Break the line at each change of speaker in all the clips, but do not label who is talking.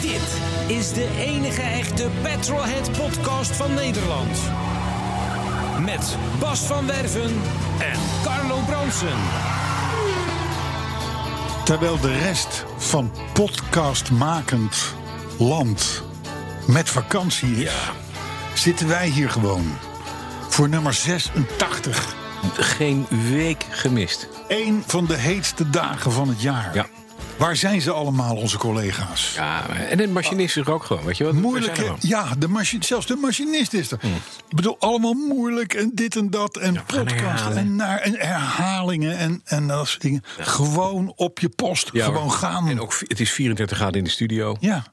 Dit is de enige echte Petrolhead podcast van Nederland. Met Bas van Werven en Carlo Bronsen.
Terwijl de rest van podcastmakend land met vakantie is, zitten wij hier gewoon. Voor nummer 86.
Geen week gemist.
Eén van de heetste dagen van het jaar.
Ja.
Waar zijn ze allemaal, onze collega's?
Ja, en de machinist is er ook gewoon, weet je wat? We
Moeilijke,
zijn er gewoon.
ja, de machi- zelfs de machinist is er. Ik bedoel, allemaal moeilijk en dit en dat en
we gaan
podcast
herhalen.
en, naar, en herhalingen en, en dat soort dingen. Gewoon op je post,
Ja,
gewoon
hoor.
gaan.
En ook, vi- het is 34 graden in de studio.
Ja.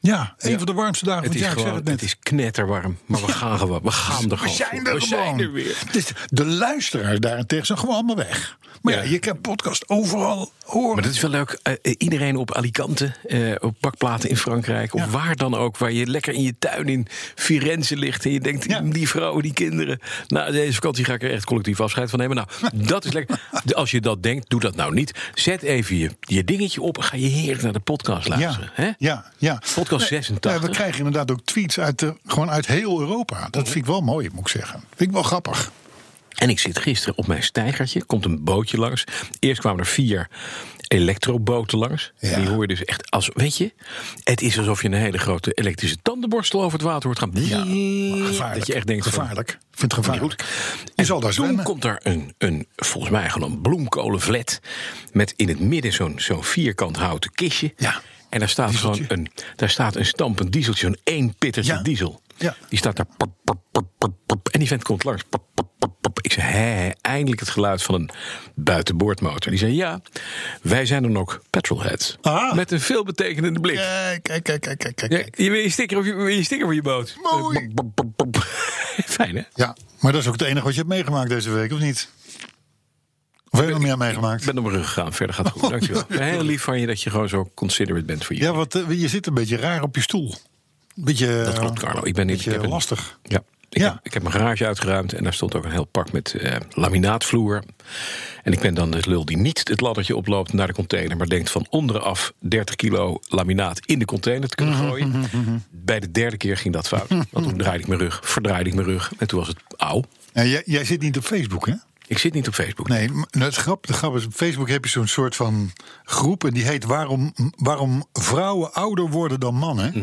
Ja, een
Ja.
van de warmste dagen van het
Het is,
jaar. Ik zeg
gewoon,
het
het,
net.
is knetterwarm, maar we gaan gewoon. We gaan er
we
gewoon.
zijn
voor.
er
we
gewoon.
zijn er weer.
Dus de luisteraars daarentegen zijn gewoon allemaal weg. Maar ja,
Ja.
je kan podcast overal horen.
Maar dat is wel leuk. Eh, eh, iedereen op Alicante, eh, op bakplaten in Frankrijk, of
Ja.
waar dan ook, waar je lekker in je tuin in Firenze ligt en je denkt,
Ja.
die vrouwen, die kinderen. Nou, deze vakantie ga ik er echt collectief afscheid van nemen. Nou, dat is lekker. De- Als je dat denkt, doe dat nou niet. Zet even je, je dingetje op en ga je heerlijk naar de podcast luisteren.
ja,
hè?
ja, ja.
Podcast
Nee,
86.
nee, we krijgen inderdaad ook tweets uit, de, gewoon uit heel Europa. Dat vind ik wel mooi, moet ik zeggen. Vind ik wel grappig.
En ik zit gisteren op mijn steigertje, komt een bootje langs. Eerst kwamen er vier elektroboten langs.
Ja.
Die hoor je dus echt als, weet je, het is alsof je een hele grote elektrische tandenborstel over het water hoort gaan.
Ja, maar gevaarlijk.
Dat je echt denkt, van,
gevaarlijk. Ik vind het gevaarlijk. Je
en
zal daar
toen
zwemmen.
komt er een, een, volgens mij gewoon een bloemkolenvlet. Met in het midden zo'n zo'n vierkant houten kistje.
Ja.
En daar staat, gewoon
Dieseltje.
een, daar staat een stampend dieseltje, zo'n één pittertje
Ja.
diesel.
Ja.
Die staat daar. pop, pop, pop, pop, pop, en die vent komt langs. Pop, pop, pop, pop. Ik zei, hé, hé, eindelijk het geluid van een buitenboordmotor. Die zei, ja, wij zijn dan ook petrolheads.
Ah.
Met een veelbetekenende blik.
Kijk, kijk, kijk, kijk, kijk, kijk.
Ja,
kijk.
je wil je sticker, op je, wil je sticker voor je boot. Eh,
Mooi.
Pop, pop, pop, pop. Fijn, hè?
Ja, maar dat is ook het enige wat je hebt meegemaakt deze week, of niet? Of heb je nog meer meegemaakt?
Ik ben op mijn rug gegaan. Verder gaat het goed. Dankjewel. Heel lief van je dat je gewoon zo considerate bent voor je.
Ja, want eh, je zit een beetje raar op je stoel. Beetje,
dat klopt, Carlo. Ik ben
een
niet
beetje lastig.
Ja. Ik,
Ja.
Heb, ik heb mijn garage uitgeruimd en daar stond ook een heel pak met eh, laminaatvloer. En ik ben dan de lul die niet het laddertje oploopt naar de container, maar denkt van onderaf 30 kilo laminaat in de container te kunnen
Mhm,
gooien. Bij de derde keer ging dat fout. Want toen draaide ik mijn rug, verdraaide ik mijn rug en toen was het auw.
Nou, jij, jij zit niet op Facebook, hè?
Ik zit niet op Facebook.
Nee, maar nou, het grap, de grap is, op Facebook heb je zo'n soort van groep... en die heet waarom, waarom vrouwen ouder worden dan mannen.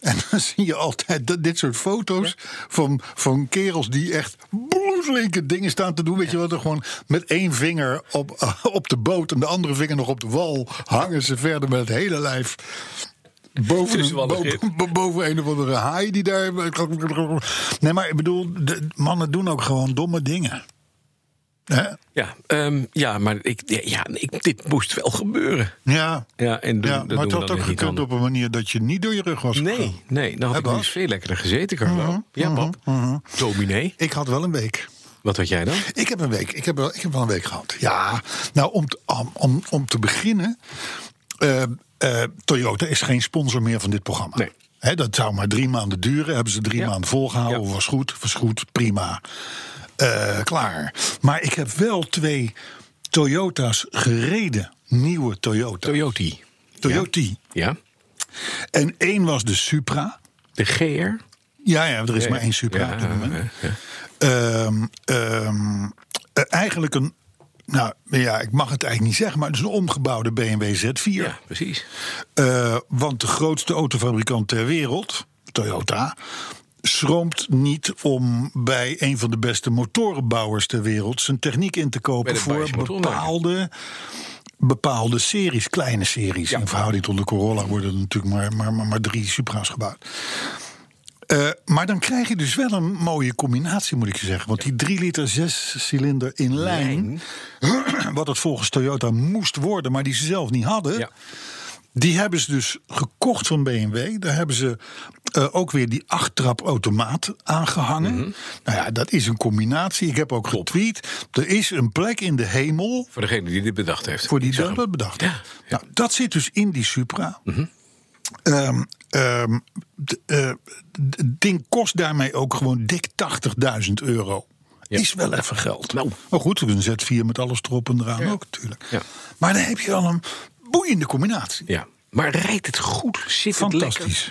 En dan zie je altijd dat- dit soort foto's van, van kerels... die echt bloedlinke dingen staan te doen. Weet je wat, er gewoon met één vinger op, op de boot... en de andere vinger nog op de wal hangen ze verder met het hele lijf... Boven een,
Tussen wallen
bo-
grip.
bo- boven een of andere haai die daar. Nee, maar ik bedoel, de mannen doen ook gewoon domme dingen. Hè?
Ja, ehm, ja maar ik, ja, ik, dit moest wel gebeuren.
Ja.
Ja, en doen,
ja,
dat
maar
doen
het
we
had
dan
ook
weer niet
gekund
dan.
op een manier dat je niet door je rug was gegaan.
Nee, nee, dan had
Oh. Hè,
ik nu
Bas? Mhm,
veel lekkerder gezeten, Carlo. Ja, pap. Dominee.
Ik had wel een week.
Wat had jij dan?
Ik heb een week. Ik heb wel, ik heb wel een week gehad. Ja. Nou, om, te- om, om, om te beginnen. eh, eh, Toyota is geen sponsor meer van dit programma.
Nee.
Hè, dat zou maar drie maanden duren. Hebben ze drie
Ja.
maanden volgehouden.
Ja.
Was goed, was goed, prima. Eh, klaar. Maar ik heb wel twee Toyota's gereden. Nieuwe Toyota.
Toyoti.
Toyota.
Ja.
En één was de Supra.
De GR.
Ja, ja, er is maar één Supra
Ja,
op dit moment.
ja, ja.
Ehm, ehm, eh, eigenlijk een. Nou ja, ik mag het eigenlijk niet zeggen, maar het is een omgebouwde BMW Z4.
Ja, precies.
Eh, want de grootste autofabrikant ter wereld, Toyota, schroomt niet om bij een van de beste motorenbouwers ter wereld zijn techniek in te kopen
Bij de
voor
Belgische motorenmaker.
bepaalde bepaalde series, kleine series. In verhouding tot de Corolla worden er natuurlijk maar, maar, maar, maar drie Supra's gebouwd. Eh, maar dan krijg je dus wel een mooie combinatie, moet ik je zeggen. Want die 3 liter 6 cilinder in lijn, wat het volgens Toyota moest worden, maar die ze zelf niet hadden.
Ja.
Die hebben ze dus gekocht van BMW. Daar hebben ze eh, ook weer die achttrap automaat aangehangen.
Mhm.
Nou ja, dat is een combinatie. Ik heb ook getweet. Er is een plek in de hemel
Voor degene die dit bedacht heeft.
voor die
Ik zag hem.
dat bedacht.
Ja, Mhm.
heeft. Nou, dat zit dus in die Supra. Ehm, ehm, d- eh, d- het ding kost daarmee ook gewoon dik 80.000 euro. Is wel even geld.
Nou.
Maar goed, een Z4 met alles erop en eraan ook natuurlijk.
Ja.
Maar dan heb je al een boeiende combinatie.
Ja. Maar rijdt het goed? Zit het lekker?
Fantastisch.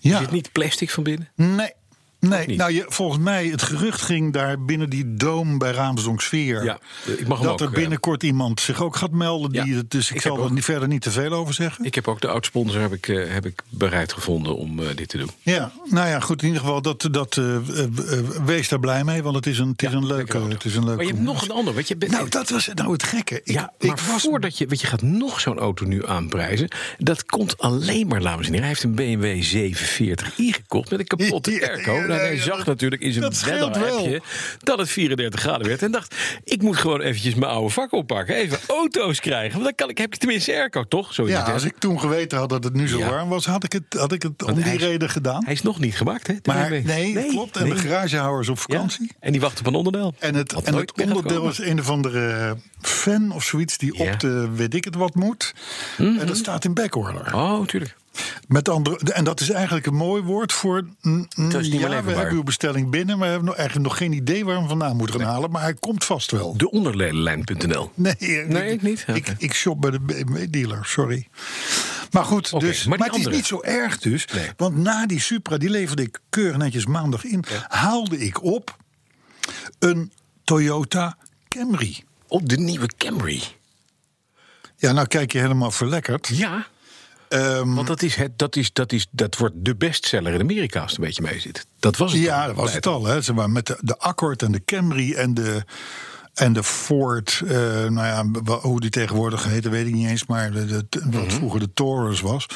Is
Ja.
het niet plastic van binnen?
Nee. Nee,
niet?
nou je, volgens mij, het gerucht ging daar binnen die doom bij Raamsdonksfeer.
Ja, ik mag hem
dat
ook,
er
eh,
binnenkort iemand zich ook gaat melden.
Ja,
Die het, dus ik,
ik
zal
heb
er
ook-
niet- verder niet te veel over zeggen.
Ik heb ook de oud-sponsor heb ik, eh, heb ik bereid gevonden om eh, dit te doen.
Ja, nou ja, goed. In ieder geval, dat, dat, eh, eh, eh, wees daar blij mee, want het is een, het is een leuke.
auto.
Het is een leuke
Maar je hebt nog een ander. Want je bent,
Nou, dat was nou het gekke. Ik,
ja,
ik
maar voordat je, want je gaat nog zo'n auto nu aanprijzen. Dat komt alleen maar, dames en heren. Hij heeft een BMW 740i gekocht met een kapotte
Ja,
airco.
ja,
En hij
ja,
zag
dat-
natuurlijk in zijn
dat scheelt
wedderappje
wel.
dat het 34 graden werd. En dacht, ik moet gewoon eventjes mijn oude vak oppakken. Even auto's krijgen. Want dan kan ik, heb ik tenminste airco, toch? Zo is
ja,
het, hè?
als ik toen geweten had dat het nu zo
Ja.
warm was, had ik het, had ik het om die
hij is-
reden gedaan.
Hij is nog niet gemaakt, hè? de
maar nee,
BMW.
klopt. En de
nee.
garagehouders op
Ja,
vakantie.
En die wacht op een onderdeel.
En het,
Wat
en
nooit
het
meer gaat
onderdeel
komen.
is een of andere fan of zoiets die
Ja. Mhm.
op de weet ik het wat moet. En dat staat in backorder.
Oh, tuurlijk.
Met andere, en dat is eigenlijk een mooi woord voor. mm, mm,
Dat
ja,
is niet meer
we
leverbaar.
hebben uw bestelling binnen, maar we hebben nog, eigenlijk nog geen idee waar we hem vandaan moeten gaan halen. Maar hij komt vast wel.
De onderledenlijn.nl.
Nee,
Nee, ik niet.
Ik,
Oké.
ik shop bij de BMW-dealer, sorry. Maar goed,
Oké,
dus,
maar
maar,
die
het is
andere?
niet zo erg dus.
Nee.
Want na die Supra, die leverde ik keurig netjes maandag in, haalde ik op een Toyota Camry.
Op de nieuwe Camry.
Ja, nou kijk je helemaal verlekkerd.
Ja.
Ehm,
Want dat, is het, dat, is, dat, is, dat wordt de bestseller in Amerika als het een beetje mee zit. Dat was het.
Ja,
dan.
dat was het al. Hè. Ze waren met de, de Accord en de Camry en de, en de Ford. eh, nou ja, wa- hoe die tegenwoordig heette, weet ik niet eens. Maar de, de- wat
Mhm.
vroeger de Taurus was.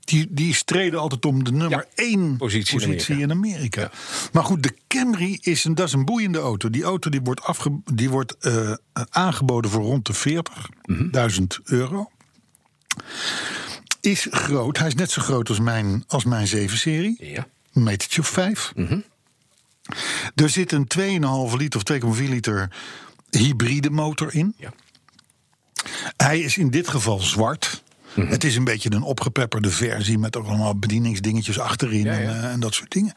Die, die streden altijd om de nummer
Ja,
één
positie
positie,
in
in Amerika. Maar goed, de Camry is een, dat is een boeiende auto. Die auto die wordt, afge, die wordt eh, aangeboden voor rond de 40.000
Mhm.
euro. Is groot. Hij is net zo groot als mijn, als mijn 7-serie.
Ja.
Een metertje of vijf. Er zit een 2,5 liter of 2,4 liter hybride motor in.
ja.
Hij is in dit geval zwart.
Mhm.
Het is een beetje een opgepepperde versie met ook allemaal bedieningsdingetjes achterin En, eh, en dat soort dingen.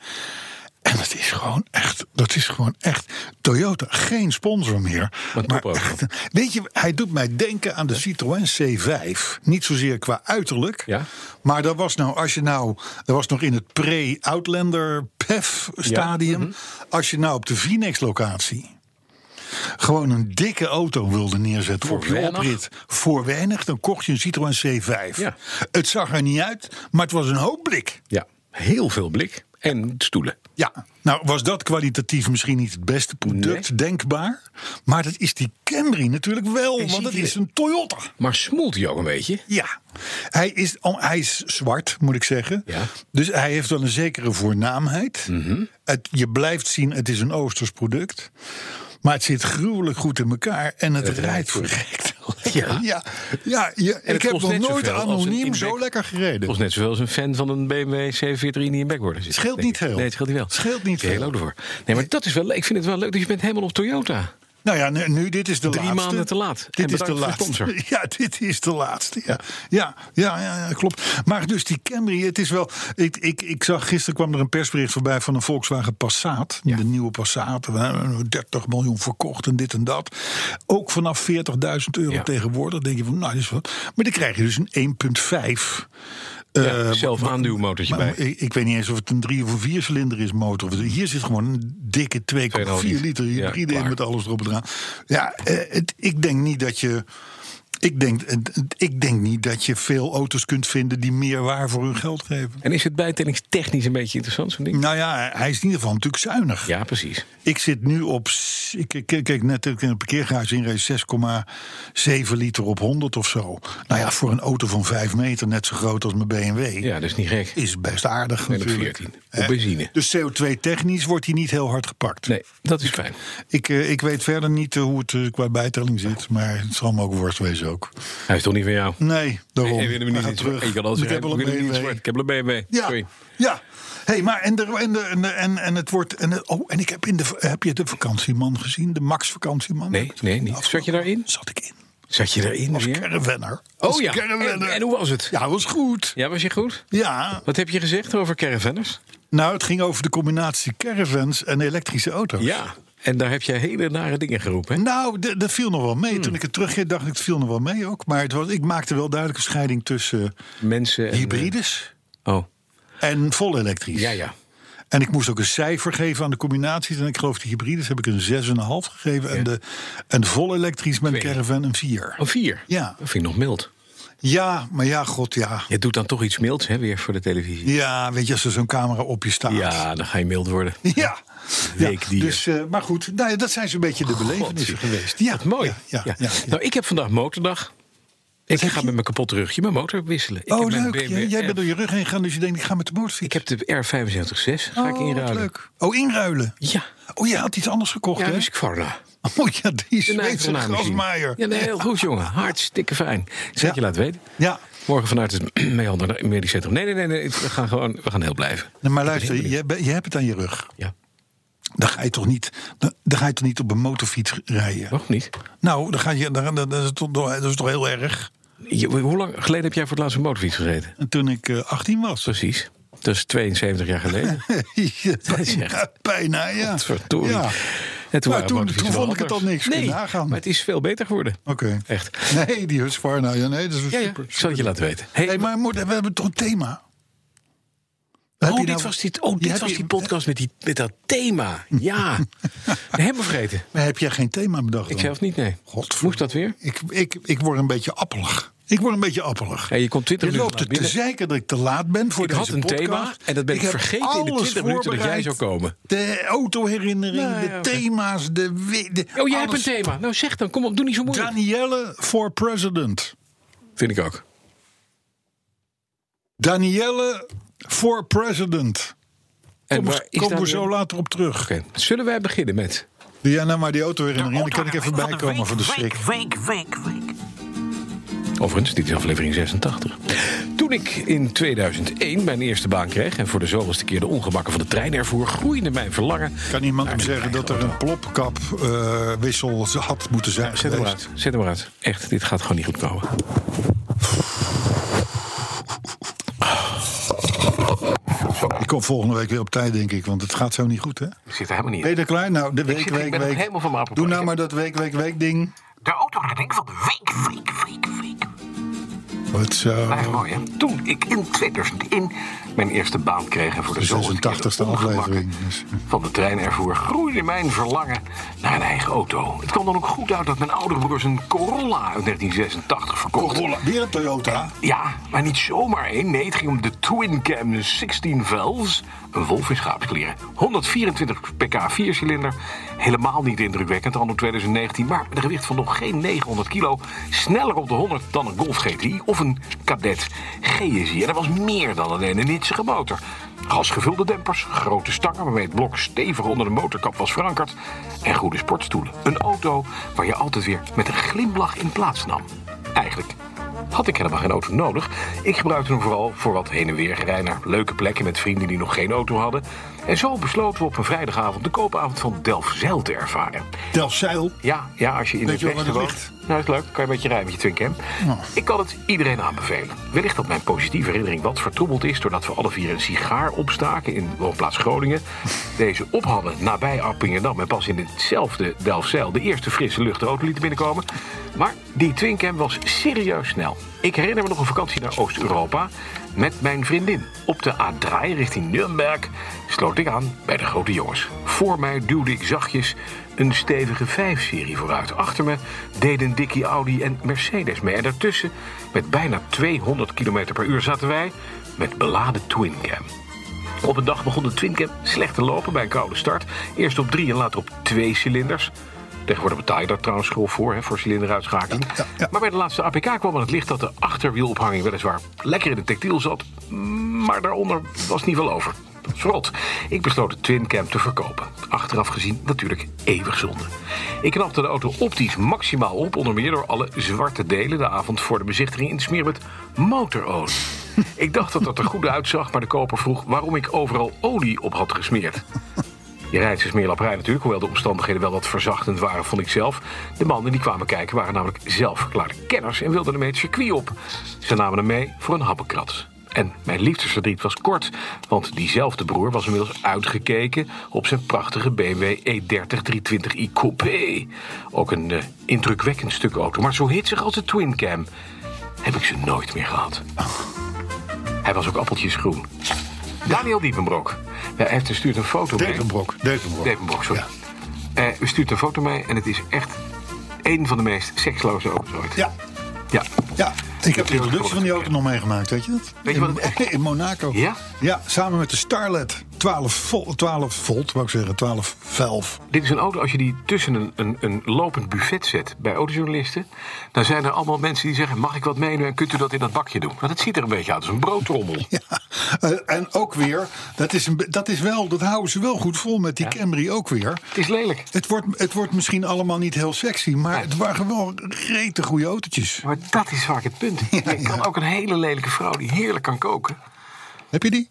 En dat is gewoon echt, dat is gewoon echt Toyota. Geen sponsor meer.
Wat topauto.
echt, weet je, hij doet mij denken aan de Citroën C5. Niet zozeer qua uiterlijk.
Ja.
Maar dat was nou, als je nou, dat was nog in het pre-Outlander PEF stadium.
Mhm.
Als je nou op de Vinex locatie gewoon een dikke auto wilde neerzetten
Voor
op je
weinig.
oprit voor weinig, dan kocht je een Citroën C5.
Ja.
Het zag er niet uit, maar het was een hoop blik.
ja. Heel veel blik en stoelen.
Ja. Nou, was dat kwalitatief misschien niet het beste product denkbaar? Maar dat is die Camry natuurlijk wel,
ziet
want het
hier-
is een Toyota.
Maar smoelt hij ook een beetje?
Ja, hij is, oh, hij is zwart, moet ik zeggen.
Ja. Mhm.
Dus hij heeft wel een zekere voornaamheid. het, je blijft zien, het is een Oosters product. Maar het zit gruwelijk goed in elkaar en het, rijdt verrekt.
Ja.
ja, ja, ja, ik
het
heb
kost
nog
net
nooit
zoveel als een
anoniem zo
inback-
lekker gereden.
Volgens net zoveel als een fan van een BMW C43 die in backorder zit.
Scheelt
denk
niet
ik.
veel.
Nee, het scheelt niet wel.
Scheelt niet
Heel
veel.
auto voor. Nee, maar dat is wel leuk. Ik vind het wel leuk dat je bent helemaal op Toyota.
Nou ja, nu, nu, dit is de
Drie
laatste.
maanden te laat. En
Dit is
bedankt
de
voor de
laatste.
sponsor.
Ja, dit is de laatste. Ja. Ja, ja, ja, ja, klopt. Maar dus die Camry, het is wel. Ik, ik, ik zag gisteren kwam er een persbericht voorbij van een Volkswagen Passat. De nieuwe Passat. eh, 30 miljoen verkocht en dit en dat. Ook vanaf 40.000 euro
Ja.
tegenwoordig. denk je van, nou, dit is wat. Maar dan krijg je dus een 1,5. eh,
ja, zelf aanduwmotortje bij.
maar ik, ik weet niet eens of het een drie of een vier cilinder is motor. Hier zit gewoon een dikke 2,4
liter.
liter hybride
Ja,
in
klaar.
met alles erop en eraan. Ja, eh, het, ik denk niet dat je. Ik denk, ik denk niet dat je veel auto's kunt vinden die meer waar voor hun geld geven.
En is het bijtellingstechnisch een beetje interessant, zo'n ding?
Nou ja, hij is in ieder geval natuurlijk zuinig.
Ja, precies.
Ik zit nu op. s- Ik ik- ik keek net dat ik in een parkeergarage inreed 6,7 liter op 100 of zo. Nou ja, voor een auto van 5 meter, net zo groot als mijn BMW.
Ja, dat is niet gek.
Is best aardig
En op
natuurlijk.
14. Op
Hè?
benzine.
Dus CO2-technisch wordt hij niet heel hard gepakt.
Nee, dat is fijn.
Ik, eh, ik weet verder niet eh, hoe het eh, qua bijtelling zit, maar het zal me ook worst wezen ook.
Hij is toch niet van jou?
Nee, daarom.
Ik wil hem
Hij
niet
gaat
in zwart.
terug.
Ik kan alles
ik heb
zeggen,
al een
ik wil hem niet in
BMW.
zwart. Ik heb al een BMW.
Ja,
Sorry.
ja. Hey, maar en, de, en, de, en, de- en, en het wordt. En, het- oh, en ik heb in de. Heb je de vakantieman gezien? De Max vakantieman?
Nee,
Heb ik
nee,
de
niet.
afgelopen-
Zat je daarin?
Zat ik in.
Zat je erin
Als
weer?
caravanner. Als
Oh ja. En,
caravanner.
en hoe was het?
Ja, was goed.
Ja, was je goed?
Ja,
Wat heb je gezegd over caravanners?
nou, het ging over de combinatie caravans en elektrische auto's.
Ja. En daar heb je hele nare dingen geroepen. hè?
Nou, d- dat viel nog wel
Hmm.
mee. Toen ik het terugkeerde, dacht ik, het viel nog wel mee ook. Maar het was, ik maakte wel duidelijk een scheiding tussen
Mensen. en-
hybrides
Oh,
en vol elektrisch.
ja, ja.
En ik moest ook een cijfer geven aan de combinaties. En ik geloof de hybrides heb ik een 6,5 gegeven. En, de, en de vol elektrisch met een
Twee.
caravan een 4.
Oh, vier.
Ja.
Dat vind ik nog mild.
Ja, maar ja, god ja.
Je doet dan toch iets milds, hè, weer voor de televisie.
Ja, weet je, als er zo'n camera op je staat.
Ja, dan ga je mild worden.
Ja. Ja,
Weekdier.
dus, eh, maar goed, nou ja, dat zijn zo'n beetje de belevenissen geweest. Ja,
Wat mooi.
Ja, ja, ja, ja.
Nou, ik heb vandaag motordag. Ik ga met mijn kapot rugje mijn motor wisselen. Ik
oh,
heb mijn
leuk.
BMW
Jij- Jij bent
R-
door je rug heen gegaan, dus je denkt, ik ga met de
Ik
motorfiets.
heb de R756, ga ik
Oh, wat
inruilen.
leuk. Oh, inruilen.
Ja,
Oh, je had iets anders gekocht,
ja
hè?
dus ik varna.
Oh ja, die
De
Zweedse
naam is hier.
grasmaaier.
Ja, nee, heel goed, jongen. Hartstikke fijn. Ik zal het
Ja.
je laten weten.
Ja,
Morgen vanuit het Meander naar het medisch centrum. Nee, nee, nee, nee. We gaan gewoon we gaan heel blijven.
Nee, maar luister, je, be- je hebt het aan je rug.
Ja,
Dan ga je toch niet, dan, dan ga je toch niet op een motorfiets rijden?
nog niet.
Nou, dan ga je, dan, dan- dat, is toch, dat is toch heel erg?
Je- hoe lang geleden heb jij voor het laatst een motorfiets gereden?
En toen ik eh, 18 was.
Precies. Dat is 72 jaar geleden.
Ja,
is
bijna,
echt-
bijna, ja.
Godverdorie.
Ja.
En toen,
Nou,
waren
toen-
motorfietsen
toen
wel
vond ik het
anders.
al niks. Kun
Nee,
je nagaan.
maar het is veel beter geworden.
Oké.
Echt.
Nee, die Husqvarna, ja, nee, dat is
Ja, ja.
super.
Ik zal het je laten weten. Hey,
Hey, maar moet- we hebben toch een thema? Heb
oh,
je
dit
nou-
was, dit, oh,
Ja,
dit
heb
was
je-
die podcast met, die, met dat thema. Ja. Helemaal vergeten.
Maar heb jij geen thema bedacht?
Ik
dan?
zelf niet, nee.
Godverdomme.
Moest dat weer?
Ik, ik, ik word een beetje appelig. Ik word een beetje appelig.
Ja, je komt 20
Je
minuten
loopt het
laat
te
binnen.
zeiken dat ik te laat ben voor
Ik
deze
had een
podcast.
thema en dat ben ik
heb
vergeten in de
alles
20 minuten dat
voorbereid.
jij zou komen.
De autoherinnering,
Nou,
de
ja, oké.
thema's, de... we- de
Oh, jij hebt
alles.
een thema. Nou, zeg dan. Kom op, doe niet zo moeilijk.
Danielle for president.
Vind ik ook.
Danielle for president.
En
Kom,
waar
eens-
is
komen we
dat-
zo later op terug.
Oké, zullen wij beginnen met...
Doe jij nou maar die autoherinnering, dan kan ik even bijkomen voor de schrik.
Week, week, week.
Overigens, dit is aflevering 86. Toen ik in 2001 mijn eerste baan kreeg... en voor de zoveelste keer de ongemakken van de trein ervoor... groeide mijn verlangen...
Kan iemand hem zeggen dat er een plopkapwissel eh, had moeten zijn
Zet hem maar
geweest?
uit. Zet hem maar uit. Echt, dit gaat gewoon niet goed komen.
Ik kom volgende week weer op tijd, denk ik, want het gaat zo niet goed, hè?
Ik zit er helemaal niet
Ben je er klaar? Nou, de week,
zit- ik
week,
ben nog
week.
helemaal van mijn appel.
Doe nou maar dat week, week, week ding.
De autoherinnering van de week, week, week, week.
Wat zo.
Echt mooi, hè? Toen ik in 2001 mijn eerste baan kreeg... en voor de
De
zoveelste
86e
keer de ongemakken
aflevering. Dus,
van de trein ervoor groeide mijn verlangen naar een eigen auto. Het kwam dan ook goed uit dat mijn oudere broers een Corolla uit 1986 verkocht.
Corolla, weer een Toyota.
Ja, maar niet zomaar één. Nee, het ging om de Twin Cam 16 Valves. Een wolf in schaapskleren. 124 pk 4-cilinder. Helemaal niet indrukwekkend, anno 2019. Maar met een gewicht van nog geen 900 kilo. Sneller op de 100 dan een Golf GTI of een Cadet GSI. En dat was meer dan alleen een hitsige motor. Gasgevulde dempers, grote stangen waarmee het blok stevig onder de motorkap was verankerd. En goede sportstoelen. Een auto waar je altijd weer met een glimlach in plaats nam. Eigenlijk had ik helemaal geen auto nodig. Ik gebruikte hem vooral voor wat heen en weer gerij naar leuke plekken met vrienden die nog geen auto hadden. En zo besloten we op een vrijdagavond de koopavond van Delfzijl te ervaren.
Delfzijl.
Ja, ja als je in
Weet je
de
wel
westen
waar
woont.
het ligt?
Nou, is leuk. Kan je een beetje rijden met je Twincam. Ik kan het iedereen aanbevelen. Wellicht dat mijn positieve herinnering wat vertroebeld is... doordat we alle vier een sigaar opstaken in woonplaats Groningen. Deze op hadden nabij Appingerdam... en pas in hetzelfde Delfzijl de eerste frisse lucht de auto lieten binnenkomen. Maar die Twincam was serieus snel. Ik herinner me nog een vakantie naar Oost-Europa... met mijn vriendin. Op de A3 richting Nuremberg sloot ik aan bij de grote jongens. Voor mij duwde ik zachtjes een stevige 5-serie vooruit. Achter me deden dikkie Audi en Mercedes mee. En daartussen, met bijna 200 km per uur, zaten wij met beladen Twincam. Op een dag begon de Twincam slecht te lopen bij een koude start. Eerst op drie en later op twee cilinders. Tegenwoordig betaal je daar trouwens schuld voor, hè, voor cilinderuitschakeling.
Ja, ja, ja.
Maar bij de laatste APK kwam aan het licht dat de achterwielophanging weliswaar lekker in het tactiel zat. Maar daaronder was niet veel over. Dat is rot. Ik besloot de Twincam te verkopen. Achteraf gezien natuurlijk eeuwig zonde. Ik knapte de auto optisch maximaal op, onder meer door alle zwarte delen de avond voor de bezichtiging in te smeren met motorolie. Ik dacht dat dat er goed uitzag, maar de koper vroeg waarom ik overal olie op had gesmeerd. Je rijdt is meer laprij natuurlijk, hoewel de omstandigheden wel wat verzachtend waren, vond ik zelf. De mannen die kwamen kijken waren namelijk zelfverklaarde kenners en wilden ermee het circuit op. Ze namen hem mee voor een happenkrat. En mijn liefdesverdriet was kort, want diezelfde broer was inmiddels uitgekeken op zijn prachtige BMW E30 320i Coupé. Ook een eh, indrukwekkend stuk auto, maar zo hitsig als de Twin Cam heb ik ze nooit meer gehad. Hij was ook appeltjesgroen. Daniel Diepenbrok. Ja, hij heeft- stuurt een foto mee.
Dekenbrok. Dekenbrok.
Devenbroek, sorry.
Ja.
Eh, u stuurt een foto mee en het is echt een van de meest seksloze auto's ooit.
Ja.
Ja.
Ja, ik heb de
die
introductie van die auto
gekeken.
nog meegemaakt, weet je dat?
Weet je wat het
in, in Monaco.
Ja?
Ja, samen met de Starlet. 12 volt, 12 volt, wou ik zeggen, 12 velf.
Dit is een auto, als je die tussen een, een, een lopend buffet zet bij autojournalisten... dan zijn er allemaal mensen die zeggen, mag ik wat meenemen en kunt u dat in dat bakje doen? Nou, dat ziet er een beetje uit als een broodtrommel.
Ja, eh, en ook weer, dat, is een, be- dat, is wel, dat houden ze wel goed vol met die Camry ook weer.
Het is lelijk.
Het wordt, het wordt misschien allemaal niet heel sexy, maar
Nee.
het waren wel rete goede autootjes.
Maar dat is vaak het punt. je kan ook een hele lelijke vrouw die heerlijk kan koken...
Heb je die?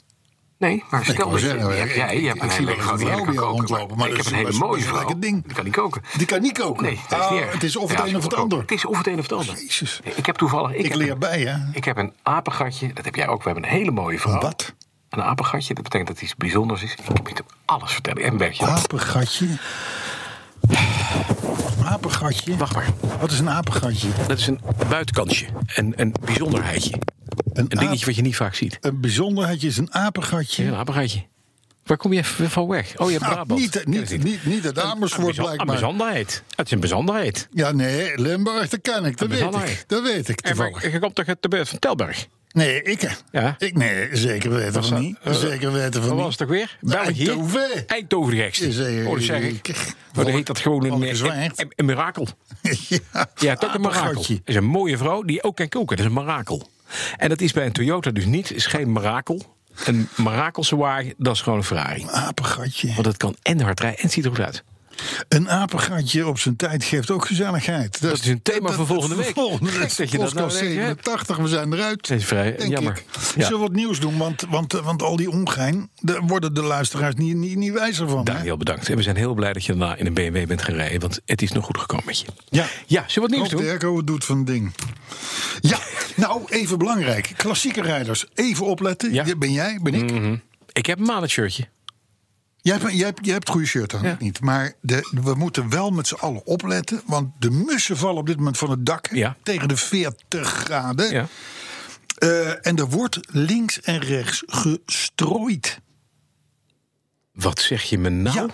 Nee, maar
Ik
stel
wou
dat je,
zeggen,
je, hebt-
ik-
jij,
ik-
je hebt
ik
een
zie
hele
wel eens
leuke
een
vrouw die
vrouw
kan
die
koken.
rondlopen, maar
maar
dat
ik heb een
is-
hele
dat is
mooie
een
vrouw.
lekker ding.
Die kan niet koken.
Die kan niet koken.
Nee, dat is
Ah,
niet erg.
het is of het
Ja,
een of het
ook-
ander.
Het is of het een of het ander.
Jezus.
Ik heb toevallig... Ik,
Ik
heb
leer
een,
bij, hè?
Ik heb een apengatje. Dat heb jij ook. We hebben een hele mooie vrouw.
Wat?
Een apengatje. Dat betekent dat iets bijzonders is. Ik moet hem alles vertellen. En
Ah.
Bertje.
Apengatje. Apengatje.
Wacht maar.
Wat is een apengatje?
Dat is een buitenkantje. Een, een bijzonderheidje.
Een,
Een dingetje
aap-
wat je niet vaak ziet.
een bijzonderheidje is een apengatje.
Een apengatje. Waar kom je even van weg? Oh, je hebt
Ah,
Brabant.
niet-
Ken je
niet- niet- niet uit
Een-
Amersfoort
een bijzo-
blijkbaar.
Een bijzonderheid. Het is een bijzonderheid.
Ja, nee, Limburg, dat ken ik. Dat
Dat
weet
is al
ik.
erg.
Dat weet ik
En
toevallig.
waar- je komt toch uit de buurt van Telberg?
Nee, ik.
Ja.
ik nee, zeker weten van
dat?
niet.
Eh,
Zeker weten
Wat
van
was
niet.
het toch weer? België?
Eindhoven.
Eindhoven de gekste.
Is, eh,
Oh, dat zeg ik.
ik-
Maar dan heet dat gewoon een,
Valk
eh, een,
Zwaard.
een- een mirakel.
ja,
Ja, dat is een mirakel.
apengatje.
Dat is een mooie vrouw die ook kan koken. Dat is een mirakel. En dat is bij een Toyota dus niet. is geen mirakel. Een mirakelse wagen, dat is gewoon een Ferrari.
Apengatje.
Want het kan en hard rijden en het ziet er goed uit.
Een apengatje op zijn tijd geeft ook gezelligheid.
Dat is een thema voor volgende week.
Volgende
Gek
week.
dat je dat nou
Podcast
weet, hè?
87, we zijn eruit.
Dat is vrij
denk
jammer.
Ik.
Ja.
Zullen we wat nieuws doen? Want, want, want al die ongein, daar worden de luisteraars niet, niet, niet wijzer van. hè?
Daniel, bedankt. En we zijn heel blij dat je daarna in een BMW bent gaan rijden. Want het is nog goed gekomen met je.
Ja.
Ja, zullen we wat nieuws
Rob
doen?
Derko, het doet van ding. Ja, nou even belangrijk. Klassieke rijders, even opletten.
Ja.
Ja, Ben jij, ben ik.
Ik heb een maand het shirtje.
Jij, hebt- jij, hebt- jij hebt goede shirt aan,
Ja.
ik niet. Maar de, we moeten wel met z'n allen opletten. Want de mussen vallen op dit moment van het dak. hè,
Ja.
Tegen de 40 graden.
Ja.
Eh, en er wordt links en rechts gestrooid.
Wat zeg je me nou?
Ja.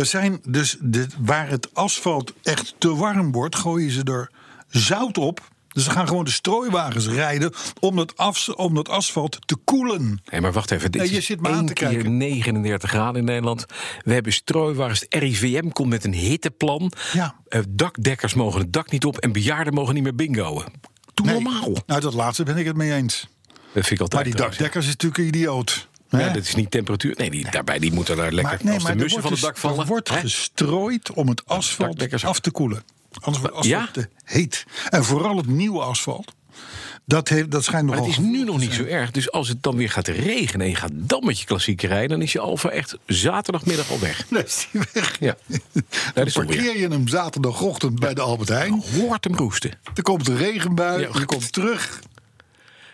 Er zijn dus de, waar het asfalt echt te warm wordt, gooien ze er zout op. Dus ze gaan gewoon de strooiwagens rijden om dat, afs- om dat asfalt te koelen.
Hé, maar wacht even. Dit
Nee, je
is
zit me aan
één
te
keer
kijken.
39 graden in Nederland. We hebben strooiwagens. Het RIVM komt met een hitteplan.
Ja.
Eh, dakdekkers mogen het dak niet op. En bejaarden mogen niet meer bingoen. Doe
Nee.
normaal. Dat
Nou, dat laatste ben ik het mee eens.
vind ik altijd
Maar die
trouwens.
dakdekkers is natuurlijk een idioot. hè?
Ja, dat is niet temperatuur. Nee, die, daarbij die moeten daar lekker
maar, nee,
als
maar
de
er
mussen
wordt
van het
dus-
dak vallen.
Er wordt
hè?
gestrooid om het asfalt
Dakdekkers ook.
af te koelen. Anders wordt het
Ja?
asfalt te heet. En vooral het nieuwe asfalt. Dat, heeft, dat schijnt
Maar
nogal...
het is nu nog niet zo erg. Dus als het dan weer gaat regenen en je gaat dan met je klassieke rijden... dan is je Alfa echt zaterdagmiddag al weg.
Dan is die weg.
Ja.
Dan
is hem weer.
parkeer je hem zaterdagochtend bij de Albert Heijn.
Hoort hem roesten.
Er komt een regenbui,
Ja.
je komt terug.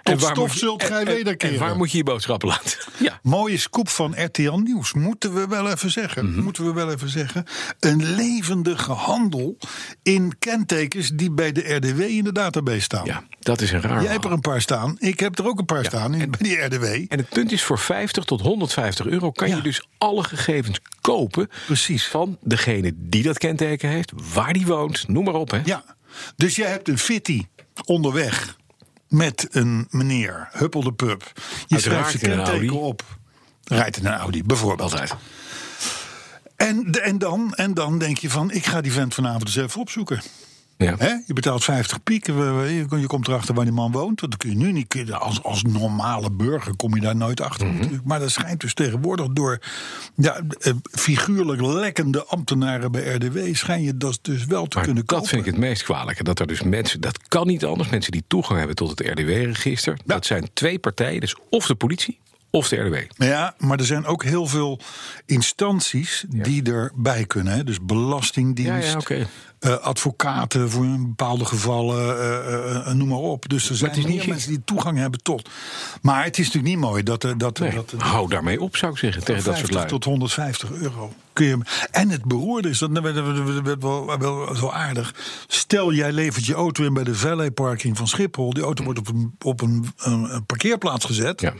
En
Tot
waar moet
stof
je-
zult
en-
gij
en- En
wederkeren.
waar moet je je boodschappen laten? Ja.
Mooie scoop van RTL Nieuws, moeten we wel even zeggen.
Mhm.
Moeten we wel even zeggen. Een levendige handel in kentekens die bij de RDW in de database staan.
ja, dat is een raar
Jij hebt er
verhaal.
een paar staan. Ik heb er ook een paar staan in, bij die RDW.
En het punt is, voor 50 tot 150 euro kan
Ja.
je dus alle gegevens kopen.
Precies.
Van degene die dat kenteken heeft, waar die woont, noem maar op. Hè.
ja. Dus jij hebt een fitty onderweg met een meneer, huppel de pup. Je
Uiteraard
schrijft zijn
in een
kenteken
Audi.
op. Rijdt in een Audi, bijvoorbeeld.
Altijd.
En, de- en, dan, en dan denk je van, ik ga die vent vanavond eens even opzoeken.
Ja.
Hè? Je betaalt 50 piek, we- we- je je komt erachter waar die man woont. Dat kun je nu niet, kun je- als, als normale burger kom je daar nooit achter.
Mhm.
natuurlijk. Maar dat schijnt dus tegenwoordig door ja, eh, figuurlijk lekkende ambtenaren bij RDW... schijn je dat dus wel te
Maar
kunnen kopen.
dat vind ik het meest kwalijke. Dat er dus mensen, dat kan niet anders, mensen die toegang hebben tot het RDW-register. Dat zijn twee partijen, dus of de politie of de RDW.
Ja, maar er zijn ook heel veel instanties die erbij kunnen. Hè? Dus belastingdienst,
Ja, ja, oké.
eh, advocaten voor in bepaalde gevallen, eh, eh, eh, noem maar op. Dus er zijn
is niet
meer
gek.
mensen die toegang hebben tot. Maar het is natuurlijk niet mooi dat... er dat, er-
Nee,
dat, er-
hou daarmee op, zou ik zeggen, tegen Eh, dat soort
50
lui.
tot 150 euro. Kun je, hem- en het beroerde is, dat werd, werd- werd- werd wel, wel zo aardig. Stel, jij levert je auto in bij de valetparking van Schiphol. Die auto wordt op een, op een, een- een parkeerplaats gezet.
Ja.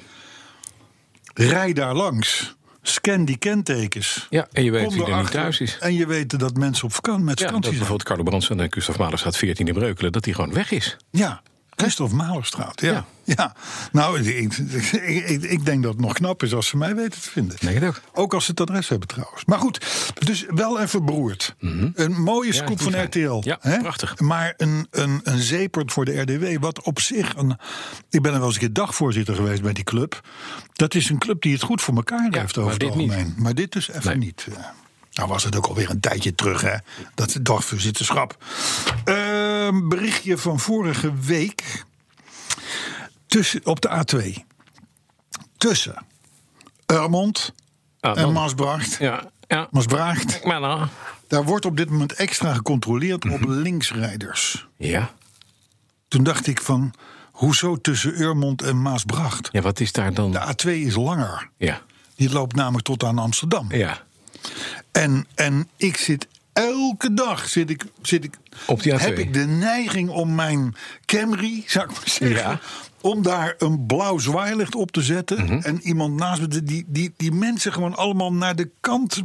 Rij daar langs. Scan die kentekens.
ja, en je weet
Kom
wie er niet
erachter.
thuis is.
En je weet dat mensen op vakantie, met
Ja, dat
vakantie zijn.
bijvoorbeeld Carlo Bransen en eh, Gustav Malerstraat 14 in Breukelen, dat die gewoon weg is.
Ja, Christophe Malerstraat. Ja.
Ja.
ja. Nou, ik, ik, ik, ik denk dat het nog knap is als ze mij weten te vinden.
Denk het ook.
Ook als ze het adres hebben trouwens. Maar goed, dus wel even beroerd.
Mhm.
Een mooie scoop
die
van
fijn.
RTL.
Ja,
hè?
prachtig.
Maar een, een, een zeepert voor de RDW. Wat op zich een. Ik ben er wel eens een keer dagvoorzitter geweest bij die club. Dat is een club die het goed voor elkaar
Ja,
heeft
maar
over het
dit niet.
algemeen. Maar dit dus even
Nee.
niet. eh. Nou was het ook alweer een tijdje terug, hè? Dat dagvoorzitterschap. Ehm berichtje van vorige week. Tussen, op de A2. Tussen Urmond
Ah,
en
dan-
Maasbracht.
Ja, ja.
Maasbracht.
Maar nou.
Daar wordt op dit moment extra gecontroleerd op linksrijders.
Ja.
Toen dacht ik van, hoezo tussen Urmond en Maasbracht?
ja, wat is daar dan?
De A2 is langer.
Ja.
Die loopt namelijk tot aan Amsterdam.
ja.
En, en ik zit elke dag zit ik, zit ik,
Op die A2.
heb ik de neiging om mijn Camry, zou ik maar zeggen,
Ja. Mhm.
om daar een blauw zwaailicht op te zetten. En iemand naast me, die- die, die, die mensen gewoon allemaal naar de kant.
Ga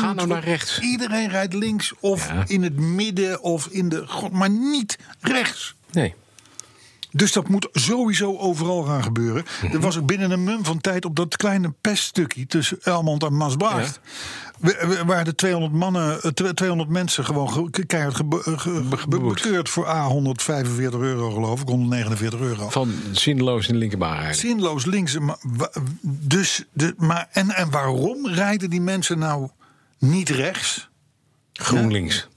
duwt.
nou naar rechts.
Iedereen rijdt links of
Ja.
in het midden of in de. god, Maar niet rechts.
Nee.
Dus dat moet sowieso overal gaan gebeuren. Er was ook binnen een mum van tijd op dat kleine peststukje tussen Elmond en Maasbracht. we- we- Waar de 200, mannen, eh, twe- 200 mensen gewoon ge- ke- keihard gebe- eh, ge- be- bekeurd voor A 145 euro, geloof ik, 149 euro.
Van zinloos in de linkerbaarheid.
Zinloos links. Maar, wa- dus de, maar, en, en waarom rijden die mensen nou niet rechts?
GroenLinks.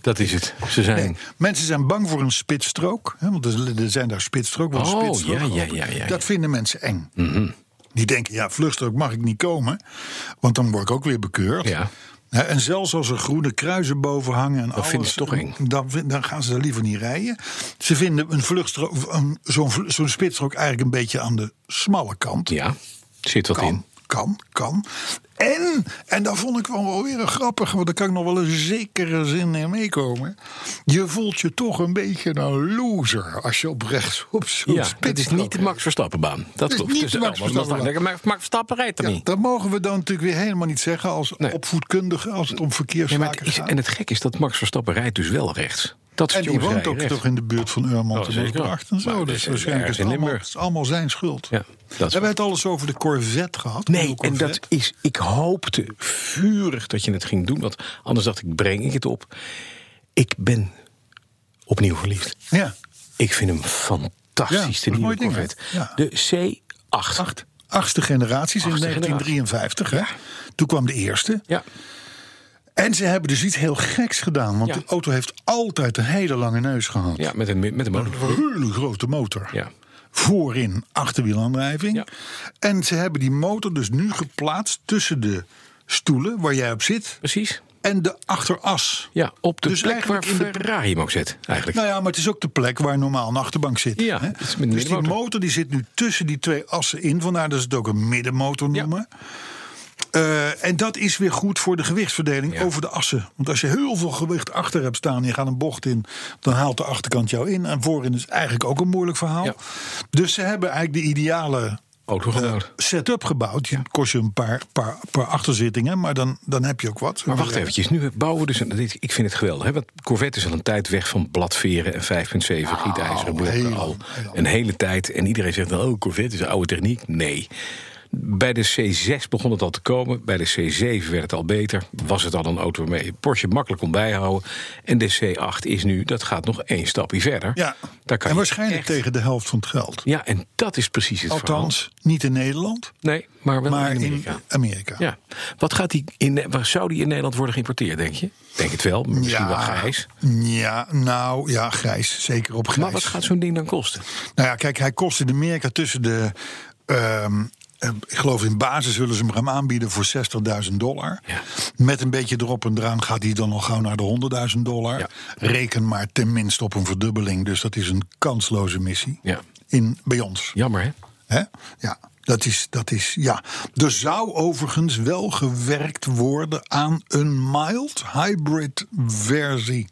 Dat is het. Ze zijn.
Nee, mensen zijn bang voor een spitsstrook. Hè, want er er zijn daar spitsstrook. want
Oh,
spitsstrook
ja, ja,
open.
ja, ja, Mhm.
Dat vinden mensen eng. Die denken, ja, vluchtstrook mag ik niet komen. Want dan word ik ook weer bekeurd.
Ja.
Hè, En zelfs als er groene kruisen boven hangen en alles,
vinden ze toch eng.
Dan, vin- dan gaan ze daar liever niet rijden. Ze vinden een vluchtstrook, een- zo'n vlu- zo'n spitsstrook eigenlijk een beetje aan de smalle kant.
Ja. Zit wat in.
Kan, kan, kan. En, en dat vond ik wel weer grappig, want daar kan ik nog wel een zekere zin in meekomen. Je voelt je toch een beetje een loser als je op rechts op zo'n
Ja,
spits
het is niet de Max Verstappenbaan. Dat
is
klopt.
niet
Dus,
de Max
oh, want dat-
Verstappenbaan.
Maar Max Verstappen rijdt er
Ja,
niet.
dat mogen we dan natuurlijk weer helemaal niet zeggen als
Nee.
opvoedkundige als het om
Nee,
verkeerszaken
maar het is,
gaat.
en het gek is dat Max Verstappen rijdt dus wel rechts. Dat soort
En die
jongens
woont
rijden
ook
rechts.
toch in de buurt van
Oh,
Urmond en
zeker.
Maasbracht en
Maar
zo.
dat
Dus
is
waarschijnlijk is
ergens
het
in
allemaal,
Limburg.
het is allemaal zijn schuld.
Ja, dat is
Hebben
waar.
we het alles over de Corvette gehad?
Nee,
Nieuwe
en
Corvette?
dat is. Ik hoopte vurig dat je het ging doen. Want anders dacht ik: breng ik het op. Ik ben opnieuw verliefd.
Ja,
Ik vind hem fantastisch,
Ja,
de
dat is
nieuwe
mooi ding, hè?
Corvette.
Ja.
De C8.
acht, achtste generaties
Achtste
in
generatie.
1953. Hè? Toen kwam de eerste.
Ja,
En ze hebben dus iets heel geks gedaan. Want
Ja.
de auto heeft altijd een hele lange neus gehad.
ja, met een, met een motor.
Een hele grote motor.
Ja.
Voorin achterwielaandrijving.
Ja.
En ze hebben die motor dus nu geplaatst tussen de stoelen waar jij op zit
Precies.
en de achteras.
Ja, op de
Dus
plek waar
eigenlijk in de-
Ferrari hem ook zit, eigenlijk.
Nou ja, maar het is ook de plek waar normaal een achterbank zit.
Ja,
hè?
het is met een
Dus die
middenmotor.
motor die zit nu tussen die twee assen in. Vandaar dat ze het ook een middenmotor
Ja.
noemen. Eh, en dat is weer goed voor de gewichtsverdeling
Ja.
over de assen. Want als je heel veel gewicht achter hebt staan en je gaat een bocht in, dan haalt de achterkant jou in. En voorin is eigenlijk ook een moeilijk verhaal.
Ja.
Dus ze hebben eigenlijk de ideale
Auto gebouwd.
setup gebouwd. Ja. Kost je een paar, paar, paar achterzittingen, maar dan, dan heb je ook wat.
Maar wacht eventjes, nu bouwen we dus... een- dit- Ik vind het geweldig, hè? want Corvette is al een tijd weg van bladveren en 5.7 gietijzeren blokken
oh, heel lang,
al.
heel lang.
Een hele tijd. En iedereen zegt dan, oh, Corvette is een oude techniek. Nee. Bij de C6 begon het al te komen. Bij de C7 werd het al beter. Was het al een auto waarmee je Porsche makkelijk kon bijhouden. En de C8 is nu, dat gaat nog één stapje verder.
Ja.
Daar kan
en
je
waarschijnlijk
echt-
tegen de helft van het geld.
Ja, en dat is precies het
Althans, niet in Nederland,
verhaal. Nee, maar wel
maar
in Amerika.
in Amerika.
Ja. Wat gaat die in, waar zou die in Nederland worden geïmporteerd, denk je? Denk het wel, maar misschien wel grijs.
Ja, nou ja, grijs. Zeker op grijs.
Maar wat gaat zo'n ding dan kosten?
Nou ja, kijk, hij kost in Amerika tussen de. ehm, eh, ik geloof in basis zullen ze hem gaan aanbieden voor 60.000 dollar.
Ja.
Met een beetje erop en eraan gaat hij dan al gauw naar de 100.000 dollar.
Ja.
Reken maar tenminste op een verdubbeling. Dus dat is een kansloze missie.
Ja.
In, bij ons.
Jammer, hè?
Hè? Ja, dat is, dat is, ja. Er zou overigens wel gewerkt worden aan een mild hybrid versie.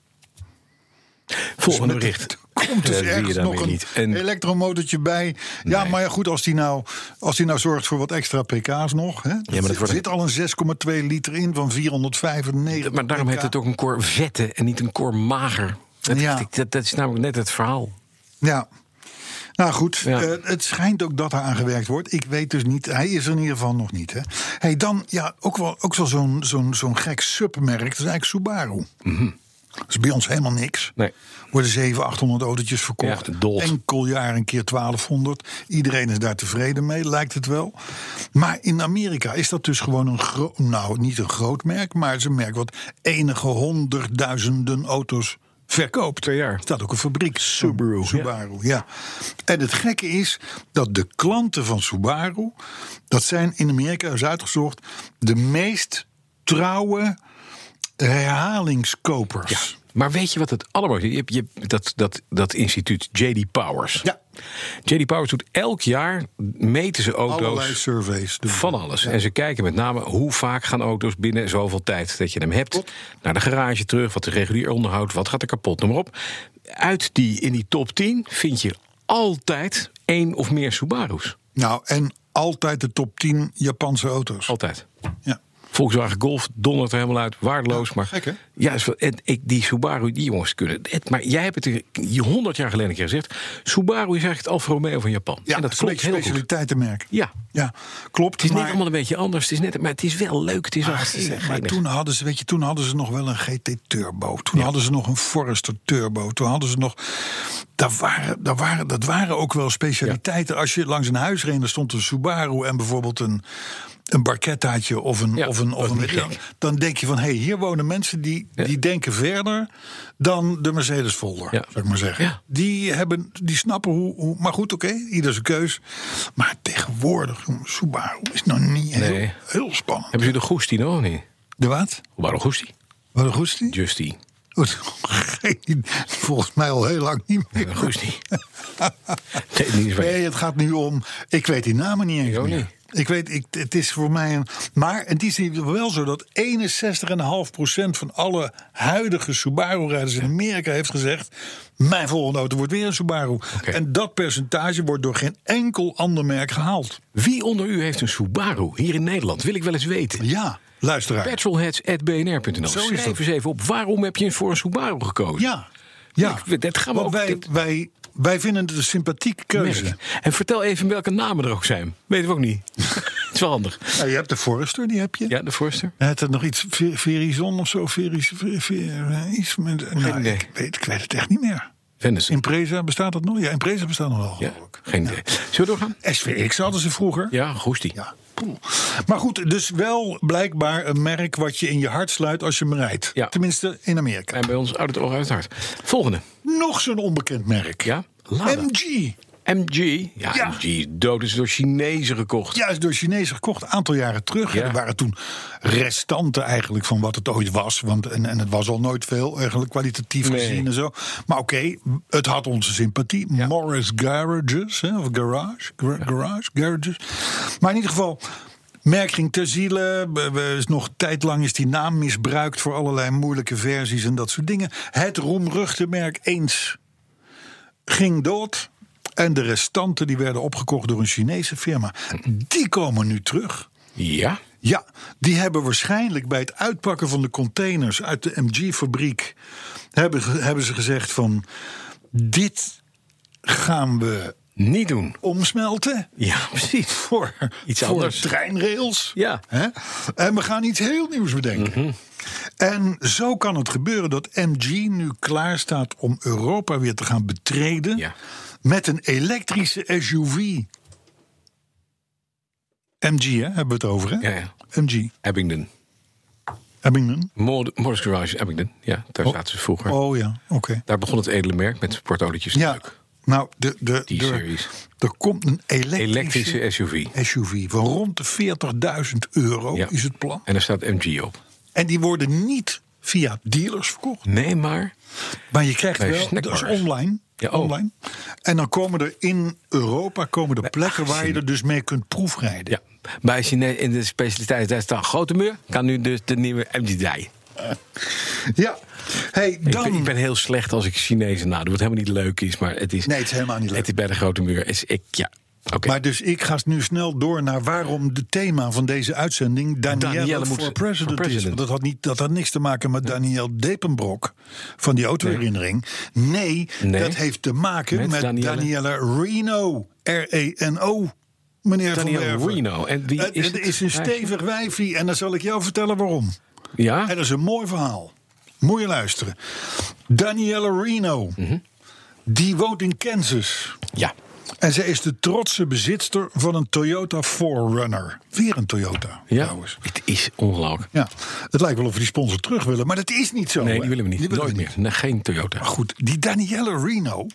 Volgende
Dus met-
bericht.
Komt dus
Dat zie je
ergens
dan
nog
weer
een
niet. En
elektromotortje bij. Ja, maar ja, goed, als die, nou, als die nou zorgt voor wat extra pk's nog. Hè,
dat
er
wordt-
zit al een 6,2 liter in van 495
maar daarom
pk.
heet het ook een Corvette en niet een Cormager. Dat,
Ja.
dat, dat is namelijk net het verhaal.
Ja. Nou goed,
Ja.
eh, het schijnt ook dat eraan gewerkt wordt. Ik weet dus niet, hij is er in ieder geval nog niet. Hè? Hey, dan, ja, ook wel, ook wel zo'n zo'n zo'n gek submerk, dat is eigenlijk Subaru. Dat is bij ons helemaal niks.
Mhm. Nee.
Worden 700, 800 autootjes verkocht.
Ja, dood.
Enkel jaar een keer 1200. Iedereen is daar tevreden mee, lijkt het wel. Maar in Amerika is dat dus gewoon een groot... Nou, niet een groot merk, maar het is een merk... wat enige honderdduizenden auto's verkoopt.
Per jaar.
Er staat ook een fabriek. Subaru. Subaru, ja. En het gekke is dat de klanten van Subaru... dat zijn in Amerika, is uitgezocht... de meest trouwe herhalingskopers.
Maar weet je wat het allermooiste is? Je hebt, je hebt dat, dat, dat instituut J.D. Powers.
Ja.
J.D. Powers doet elk jaar, meten ze auto's.
Allerlei surveys. doen.
Van alles. En ze kijken met name hoe vaak gaan auto's binnen zoveel tijd dat je hem hebt. Naar de garage terug, wat de regulier onderhoud, wat gaat er kapot, noem maar op. Uit die, in die top 10 vind je altijd één of meer Subaru's.
Nou, en altijd de top 10 Japanse auto's.
Altijd.
Ja.
Volkswagen Golf dondert er helemaal uit, waardeloos. maar
gek, hè?
Ja, is wel- en ik, die Subaru, die jongens kunnen. Het, maar jij hebt het er- je 100 jaar geleden een keer gezegd. Subaru is eigenlijk het Alfa Romeo van Japan.
Ja,
en dat
is een
klopt
beetje
heel goed.
specialiteitenmerk.
Ja.
ja, klopt.
Het is
maar,
net allemaal een beetje anders. Het is net, maar het is wel leuk. Het is wel
maar,
Ah, geinig.
maar toen, hadden ze, weet je, toen hadden ze nog wel een GT Turbo. Toen hadden ze nog een Forester Turbo. Toen hadden ze nog... Daar waren, daar waren, dat waren ook wel specialiteiten. Als je langs een huis reed, dan stond een Subaru... en bijvoorbeeld een, een barquettaatje of een...
Ja,
of een,
dat
of
is
een
niet
dan,
gek.
dan denk je van, hé, hey, hier wonen mensen die,
Ja.
die denken verder... dan de Mercedes-folder,
Ja.
zou ik maar zeggen.
Ja.
Die, hebben, die snappen hoe, hoe. Maar goed, oké, ieder zijn keus. Maar tegenwoordig, jongen, Subaru is nog niet heel,
Nee.
heel spannend.
Hebben ze de Goesti nog of niet?
De wat?
Waarom Goesti?
Wat een goestie?
Justy.
Goed, geen- Volgens mij al heel lang niet meer.
Goesti. nee, die is waar.
Nee, het gaat nu om. Ik weet die namen niet eens.
Ik ook
meer. Ik weet, ik, het is voor mij een. Maar het is hier wel zo dat 61,5% van alle huidige Subaru-rijders in Amerika heeft gezegd: Mijn volgende auto wordt weer een Subaru. En dat percentage wordt door geen enkel ander merk gehaald.
Wie onder u heeft een Subaru hier in Nederland? Wil ik wel eens weten.
Ja, luisteraar.
Petrolheads.bnr.nl
Zo is
Schrijf
dat.
eens even op. Waarom heb je voor een Subaru gekozen?
ja, ja.
Ik- dat gaan we
Want
ook-
wij,
dit-
wij, wij vinden het een sympathieke keuze.
Merk. En vertel even welke namen er ook zijn. Weten we ook niet. Het is wel handig.
Nou, je hebt de Forester, die heb je.
Ja, de voorster.
Hij had er nog iets, Ver- Verizon of zo, Veris, Ver- Ver- iets met, nou,
idee.
ik, weet, ik weet het echt niet meer.
Vennissen.
Impreza, bestaat dat nog? Ja, Impreza bestaat nog wel.
Ja, geen idee. Zullen we doorgaan?
SVX hadden ze vroeger.
Ja, Goesti.
Ja, poeh. Maar goed, dus wel blijkbaar een merk wat je in je hart sluit als je hem rijdt.
Ja.
Tenminste in Amerika.
En bij ons oud het oog uit het hart. Volgende.
Nog zo'n onbekend merk.
Ja, nou Lada.
MG.
MG. Ja,
Ja.
MG is dood. Is door Chinezen gekocht.
Juist door Chinezen gekocht, een aantal jaren terug.
Ja.
Er waren toen restanten eigenlijk van wat het ooit was. Want, en, en het was al nooit veel, eigenlijk kwalitatief
Nee.
gezien en zo. Maar oké, het had onze sympathie. Morris Garages, hè, of Garage, Gar- Garage, Garages. Maar in ieder geval... Merk ging ter ziele, we- we- is nog tijdlang is die naam misbruikt voor allerlei moeilijke versies en dat soort dingen. Het roemruchte merk eens ging dood. En de restanten die werden opgekocht door een Chinese firma. Die komen nu terug.
Ja.
Ja, die hebben waarschijnlijk bij het uitpakken van de containers uit de MG-fabriek. Hebben, ge- hebben ze gezegd van. Dit gaan we
Niet doen.
omsmelten.
Ja, precies.
Voor,
Iets
voor
anders.
treinrails.
Ja. Mhm.
Hè? En we gaan iets heel nieuws bedenken. En zo kan het gebeuren dat MG nu klaar staat om Europa weer te gaan betreden.
Ja.
Met een elektrische SUV. MG, hè, hebben we het over, hè?
Ja, ja.
MG.
Abingdon.
Abingdon.
Moor- Morris Garage in Abingdon. Ja, daar zaten ze vroeger.
Oh ja, oké.
Daar begon het edele merk met portolietjes.
Ja, nou, de, de,
Die
de-
series.
er komt een elektrische,
Elektrische SUV.
SUV van rond de 40.000 euro
Ja.
Oh, is het plan.
En daar staat MG op.
En die worden niet via dealers verkocht.
Nee, maar.
Maar je krijgt
Bij
wel, dat
snackbars.
is online.
Ja, oh.
online. En dan komen er in Europa komen er plekken waar je er dus mee kunt proefrijden.
Ja. Bij Chine in de specialiteit daar staat Grote Muur. Kan nu dus de nieuwe MG zijn.
Ja. Hey,
Ik
dan...
ben, ik ben heel slecht als ik Chinezen nadoe. Wat helemaal niet leuk is. Maar het is,
Nee, het is helemaal niet leuk.
Het is bij de Grote Muur. Is, ik, ja. Oké.
Maar dus ik ga nu snel door naar waarom de thema van deze uitzending Danielle,
Danielle moet-
voor
voor
president, is.
president.
Want dat had, niet, dat had niks te maken met Danielle Depenbrock van die autoherinnering. Nee,
Nee.
dat heeft te maken met,
Met
Danielle.
Danielle.
Reno. R-E-N-O. Meneer
Danielle
Van Werven.
Reno. En wie
Het-
is
het
het
is een
eigenlijk?
stevig wijfie en dan zal ik jou vertellen waarom.
ja?
En dat is een mooi verhaal. Moet je luisteren. Danielle Reno.
Mhm.
Die woont in Kansas.
ja.
En zij is de trotse bezitster van een Toyota 4Runner. Weer een Toyota,
Ja.
trouwens.
Het is ongelooflijk.
Ja, het lijkt wel of we die sponsor terug willen, maar dat is niet zo.
Nee,
hè?
die willen we niet.
Oh, willen
Nooit
we
meer. Nee, geen Toyota.
Maar goed, die Danielle Reno,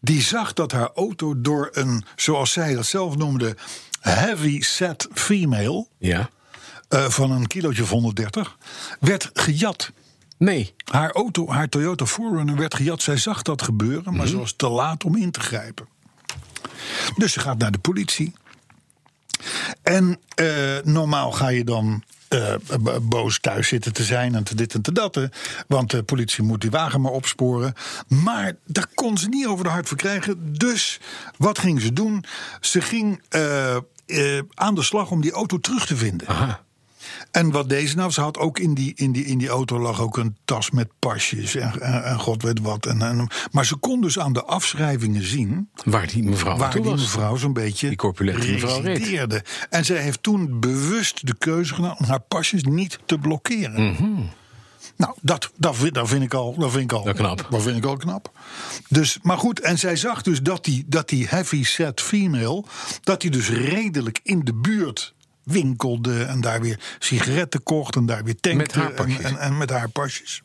die zag dat haar auto door een, zoals zij dat zelf noemde, heavy set female
Ja.
eh, van een kilootje of 130 werd gejat.
Nee.
Haar auto, haar Toyota 4Runner werd gejat. Zij zag dat gebeuren, maar ze was te laat om in te grijpen. Dus ze gaat naar de politie. En eh, normaal ga je dan eh, b- boos thuis zitten te zijn en te dit en te dat. hè. Want de politie moet die wagen maar opsporen. Maar daar kon ze niet over de hart voor krijgen. Dus wat ging ze doen? Ze ging eh, eh, aan de slag om die auto terug te vinden.
Aha.
En wat deze nou, ze had ook in die, in die, in die auto lag ook een tas met pasjes en, en, en god weet wat. En, en- maar ze kon dus aan de afschrijvingen zien
Waar die mevrouw
waar
naartoe
die
was.
mevrouw zo'n beetje
Die corpulente mevrouw reed.
resideerde. En zij heeft toen bewust de keuze gedaan om haar pasjes niet te blokkeren.
Mhm.
Nou, dat, dat, vind, dat vind ik al. Dat vind ik al
Dat knap.
Dat vind ik al knap. Dus, maar goed, en zij zag dus dat die, dat die heavy set female. dat die dus redelijk in de buurt winkelde. en daar weer sigaretten kocht en daar weer tankte.
Met haar pasjes.
En, en, en met haar pasjes.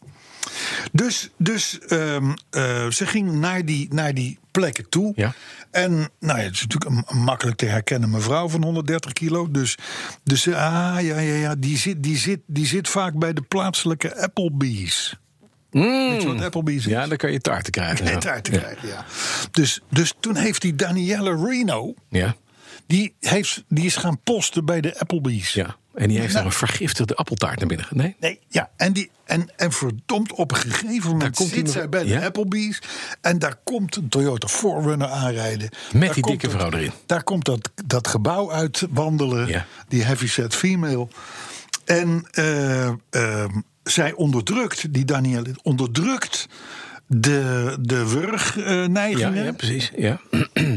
Dus, dus ehm, eh, ze ging naar die, naar die plekken toe.
Ja.
En nou ja, het is natuurlijk een- een makkelijk te herkennen mevrouw van 130 kilo. Dus, dus eh, ah, ja, ja, ja, die, zit, die, zit, die zit vaak bij de plaatselijke Applebee's. Weet je wat Applebee's is?
Mm. Ja, dan kan je taarten krijgen.
Het uit te krijgen, ja. Dus, dus toen heeft die Danielle Reno...
Ja. ja.
Die, heeft, die is gaan posten bij de Applebee's.
Ja, en die heeft
Nou.
daar een vergiftigde appeltaart naar binnen. ge- Nee?
Nee, ja. En, die, en, en verdomd, op een gegeven moment
komt
zit
die-
zij bij de
ja?
Applebee's. En daar komt een Toyota 4Runner aanrijden.
Met
Daar
die
komt
dikke
dat-
vrouw erin.
Daar komt dat, dat gebouw uit wandelen.
Ja.
Die heavyset female. En eh, eh, zij onderdrukt, die Danielle, onderdrukt de, de
Ja,
wurgneigingen.
ja, precies. Ja.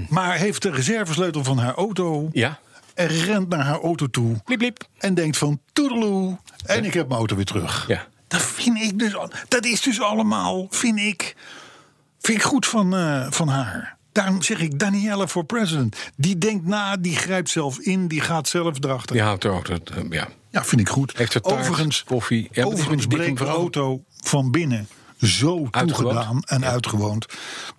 maar heeft de reservesleutel van haar auto.
ja.
En rent naar haar auto toe.
Bliep, bliep.
En denkt van toedeloe. En ik heb mijn auto weer terug.
Ja.
Dat vind ik dus. al- Dat is dus allemaal, vind ik. Vind ik goed van, eh, van haar. Daarom zeg ik Danielle voor president. Die denkt na, die grijpt zelf in, die gaat zelf erachter.
Die houdt er ook. Dat, eh, ja.
Ja, vind ik goed.
Heeft er taart, koffie? Ja, maar dat is met
overigens
die dikke
bleek de
mevrouw.
auto van binnen zo
Uitgewoond?
toegedaan en uitgewoond...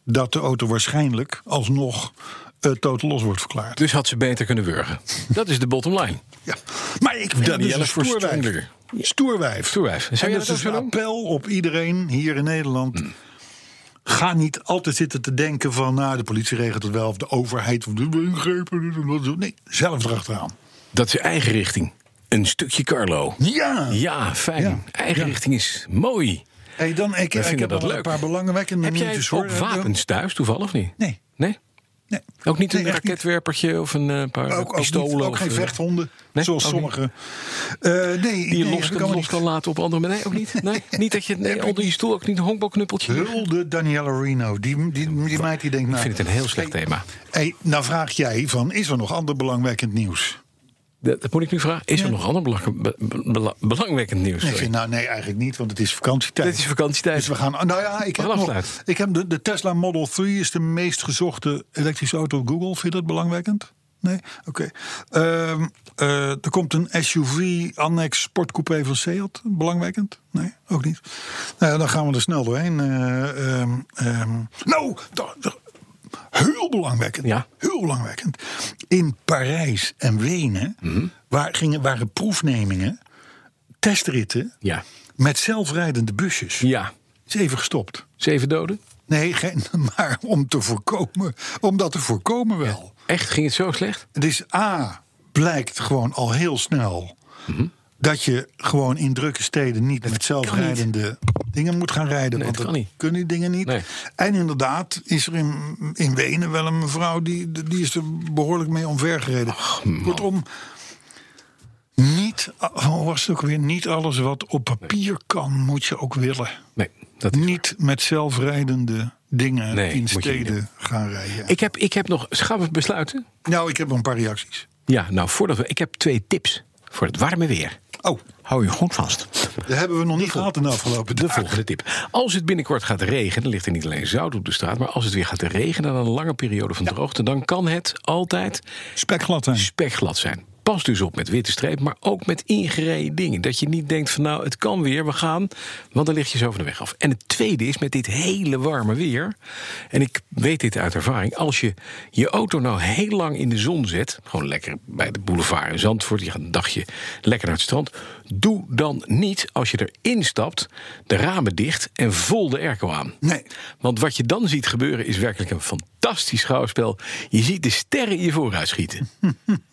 dat de auto waarschijnlijk alsnog eh totaal los wordt verklaard.
Dus had ze beter kunnen wurgen. Dat is de bottom line.
Ja. Maar ik vind
Danielle
dus een
voor
stoerwijf.
Stronger.
Stoerwijf.
Stoerwijf. Zou
En
jij
dat
dat
is
ook
een
willen? Hmm.
appel op iedereen hier in Nederland. Ga niet altijd zitten te denken van... nou, de politie regelt het wel, of de overheid... of de ingrepen, dit en dat zo. Nee, zelf erachteraan.
Dat is eigen richting. Een stukje Carlo.
Ja!
Ja, fijn.
Ja.
Eigen richting is mooi.
Hey, dan, ik, ik
vinden
heb
dat
nog een
leuk.
paar belangwekkende
Heb jij
nieuwtjes.
ook
hoor.
wapens thuis, toevallig of niet?
Nee.
Nee?
Nee.
Ook niet een
Nee, echt niet.
raketwerpertje of een eh, paar
Ook, ook,
pistolen?
niet, ook
of,
geen
eh,
vechthonden,
nee?
zoals
Ook niet?
sommige. Eh, nee,
Die
nee,
je los,
heb ik
kan,
allemaal
los kan laten op andere mensen. Nee, ook niet. Nee, niet dat je nee,
ik
onder je stoel ook niet een honkbalknuppeltje.
niet. Hulde Daniela Reno, die, die, die meid die denkt... Nou,
Ik vind het een heel slecht thema.
Hey, nou vraag jij van, is er nog ander belangwekkend nieuws?
Dat, dat moet ik nu vragen. Is er nog ander belang, be- bela- belangwekkend nieuws?
Nee, ik
Sorry.
vind, nou nee, eigenlijk niet, want het is vakantietijd.
Dit is vakantietijd.
Dus we gaan. Nou ja, ik
We
heb,
gaan
nog,
afsluiten.
ik heb de, de Tesla Model 3 is de meest gezochte elektrische auto op Google. Vind je dat belangwekkend? Nee? Oké. Ehm, eh, er komt een SUV Annex Sportcoupé van Seat. Belangwekkend? Nee, ook niet. Nou ja, dan gaan we er snel doorheen. Eh, ehm, ehm. nou, da- da- heel belangwekkend.
Ja.
Heel belangwekkend. In Parijs en Wenen
Mhm.
waar gingen, waren proefnemingen, testritten
Ja.
met zelfrijdende busjes.
ja.
Is even gestopt.
Zeven doden?
Nee, geen, maar om te voorkomen, om dat te voorkomen wel.
Echt? Ging het zo slecht?
Dus A, blijkt gewoon al heel snel
Mhm.
dat je gewoon in drukke steden niet met zelfrijdende dingen moet gaan rijden. want
dat
dat
kan niet.
kunnen die dingen niet.
Nee.
En inderdaad is er in, in Wenen wel een mevrouw die, die is er behoorlijk mee omvergereden. Kortom, niet, oh, was het ook weer, niet alles wat op papier kan, moet je ook willen
Nee. Dat is...
niet met zelfrijdende dingen
Nee,
in
moet je niet
steden gaan rijden.
ik, heb, ik heb nog... Gaan we besluiten?
nou, ik heb een paar reacties.
Ja, nou, voordat we... Ik heb twee tips voor het warme weer.
Oh,
Hou je goed vast.
dat hebben we nog niet gehad in de afgelopen
De
dagen.
volgende tip. Als het binnenkort gaat regenen, ligt er niet alleen zout op de straat... maar als het weer gaat regenen na een lange periode van droogte... dan kan het altijd
Spekglad zijn.
spekglad zijn. Pas dus op met witte streep, maar ook met ingereden dingen. Dat je niet denkt van nou, het kan weer, we gaan. Want dan lig je zo van de weg af. En het tweede is met dit hele warme weer... en ik weet dit uit ervaring... als je je auto nou heel lang in de zon zet... gewoon lekker bij de boulevard in Zandvoort... je gaat een dagje lekker naar het strand... doe dan niet, als je erin stapt, de ramen dicht... en vol de airco aan.
Nee.
Want wat je dan ziet gebeuren is werkelijk een fantastisch schouwspel. Je ziet de sterren in je vooruit schieten.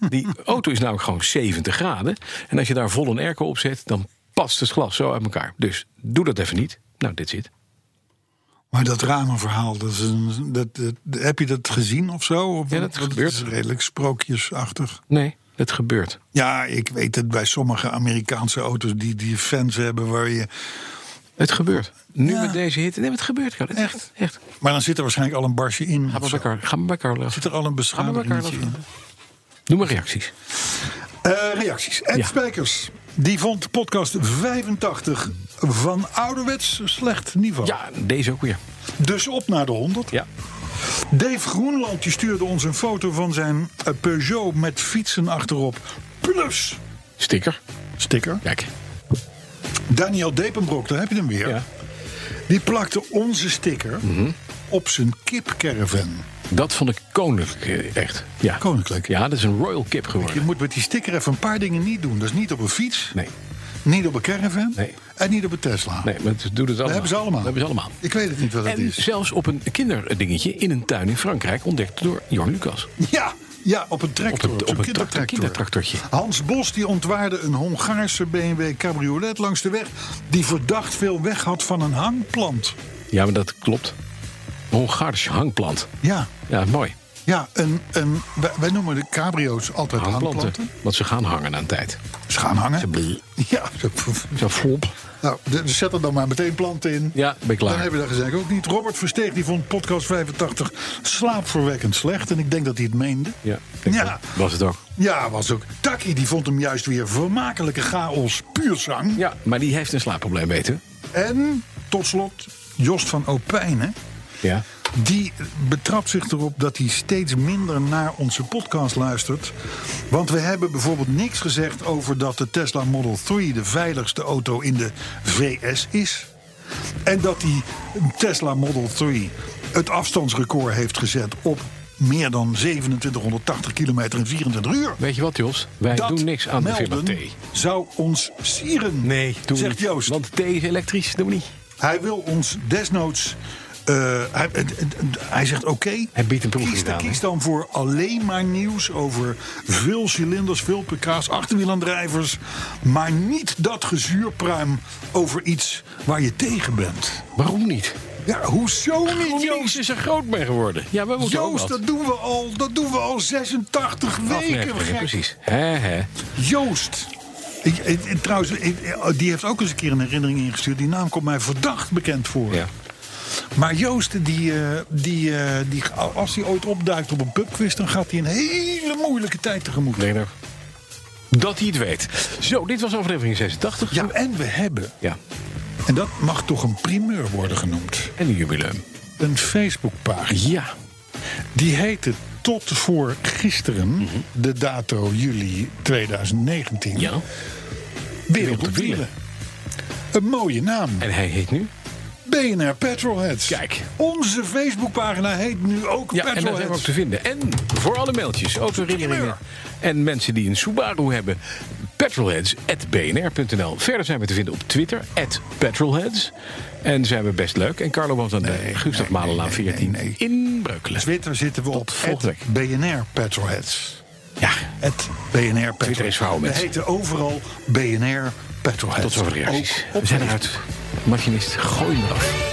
Die auto is namelijk gewoon 70 graden. En als je daar vol een airco op zet, dan past het glas zo uit elkaar. Dus doe dat even niet. Nou, dit zit.
Maar dat ramenverhaal, dat is een, dat, dat- heb je dat gezien of zo? Of-
Ja, dat
want
gebeurt.
Het is redelijk sprookjesachtig.
Nee, dat gebeurt.
Ja, ik weet het bij sommige Amerikaanse auto's die, die fans hebben waar je...
Het gebeurt. Nu
Ja.
met deze hitte. Nee, maar het gebeurt. Carlo. Het-
Echt?
Echt.
Maar dan zit er waarschijnlijk al een barsje in.
Ga
of
maar bij
zo.
Carlo. Ga maar bij Carlo.
Zit er al een
Ga maar bij
beschadiging
Carlo.
in?
Doe maar reacties.
Eh, reacties. Ed
Ja.
Spijkers. Die vond podcast 85 van ouderwets slecht niveau.
Ja, deze ook weer.
Dus op naar de 100.
Ja.
Dave Groenland die stuurde ons een foto van zijn eh, Peugeot met fietsen achterop. Plus
Sticker.
sticker.
Kijk.
Daniel Depenbroek, daar heb je hem weer.
Ja.
Die plakte onze sticker op zijn kipcaravan.
Dat vond ik koninklijk eh, echt. Ja.
Koninklijk.
Ja, dat is een royal kip
Je
geworden.
moet met die sticker even een paar dingen niet doen. Dat is niet op een fiets,
Nee.
niet op een caravan
Nee.
en niet op een Tesla.
Nee, maar het doet het allemaal.
Dat hebben ze allemaal.
Dat hebben ze allemaal.
Ik weet het niet wat het
en
is.
zelfs op een kinderdingetje in een tuin in Frankrijk ontdekt door Jorn Lucas.
Ja, ja, op een tractor.
Op een-
zo'n
op een tractor- kindertractortje.
Hans Bos die ontwaarde een Hongaarse BMW cabriolet langs de weg... die verdacht veel weg had van een hangplant.
Ja, maar dat klopt. Hongaars hangplant.
Ja,
Ja, mooi.
ja een, een, wij, wij noemen de cabrio's altijd hangplanten.
Hangplanten. Want ze gaan hangen aan tijd.
Ze gaan hangen.
blie.
Ja, ze-
Zo flop.
nou, de- zet er dan maar meteen planten in.
Ja, ben ik klaar.
Dan hebben we dat gezegd ook niet. Robert Versteeg die vond podcast 85 slaapverwekkend slecht. En ik denk dat hij het meende.
Ja,
Ja.
ja. was het ook.
Ja, was ook. Taki die vond hem juist weer vermakelijke chaos, puur zang.
Ja, maar die heeft een slaapprobleem, weten.
En tot slot Jost van Opijnen.
Ja.
Die betrapt zich erop dat hij steeds minder naar onze podcast luistert. Want we hebben bijvoorbeeld niks gezegd over dat de Tesla Model 3 de veiligste auto in de VS is. En dat die Tesla Model 3 het afstandsrecord heeft gezet op meer dan 2780 kilometer in 24 uur.
Weet je wat, Jos? Wij
dat
doen niks aan de
melden
firma T.
zou ons sieren,
doe
zegt
niet.
Joost.
Want T is elektrisch, doen we niet.
Hij wil ons desnoods. eh, hij, eh, eh, hij zegt oké.
Hij biedt een proefje
kies,
aan, hè?
kies dan voor alleen maar nieuws over veel cilinders, veel pk's, achterwielaandrijvers. Maar niet dat gezuurpruim over iets waar je tegen bent.
Waarom niet?
Ja, hoezo niet,
Joost
Joost?
is er groot mee geworden. Ja, we moeten ook
Joost,
wat.
dat doen we al, dat doen we al 86 weken,
Afleveringen,
gek.
Precies. Hè, hè.
Joost. Ik, ik- ik- trouwens, ik- die heeft ook eens een keer een herinnering ingestuurd. Die naam komt mij verdacht bekend voor.
Ja.
Maar Joost, die, eh, die, eh, die, als hij ooit opduikt op een pubquiz... dan gaat hij een hele moeilijke tijd tegemoet.
Nee, nou, Dat hij het weet. Zo, dit was aflevering 86.
Ja, en we hebben,
Ja.
en dat mag toch een primeur worden genoemd...
En een jubileum.
een Facebookpagina.
Ja.
Die heette tot voor gisteren, de dato juli 2019...
Mhm. Ja.
Wereld op Wielen. Een mooie naam.
En hij heet nu?
BNR Petrolheads.
Kijk.
Onze Facebookpagina heet nu ook
Ja, en dat hebben we ook
Petrolheads.
te vinden. En voor alle mailtjes, autoherinneringen en mensen die een Subaru hebben... petrolheads.bnr.nl Verder zijn we te vinden op Twitter, petrolheads. En zijn we best leuk. En Carlo woont aan de Gustav Malenlaan 14
nee, nee.
in Breukelen.
Twitter zitten we op
Tot volgende
het BNR Petrolheads.
Ja,
Het BNR
Twitter
Petrolheads.
is voor oude
We
mensen.
heten overal BNR Petrolheads.
tot zover de reacties.
Ook op
We zijn eruit. Machinist, gooi hem eraf.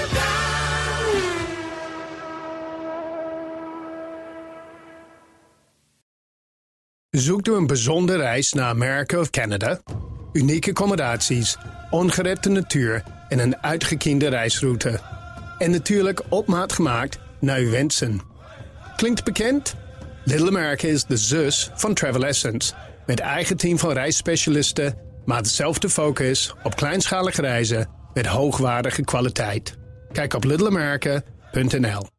Zoekt u een bijzondere reis naar Amerika of Canada? Unieke accommodaties, ongerepte natuur en een uitgekiende reisroute. En natuurlijk op maat gemaakt naar uw wensen. Klinkt bekend? Little America is de zus van Travel Essence. Met eigen team van reisspecialisten, maar dezelfde focus op kleinschalige reizen met hoogwaardige kwaliteit. Kijk op littleamerica.nl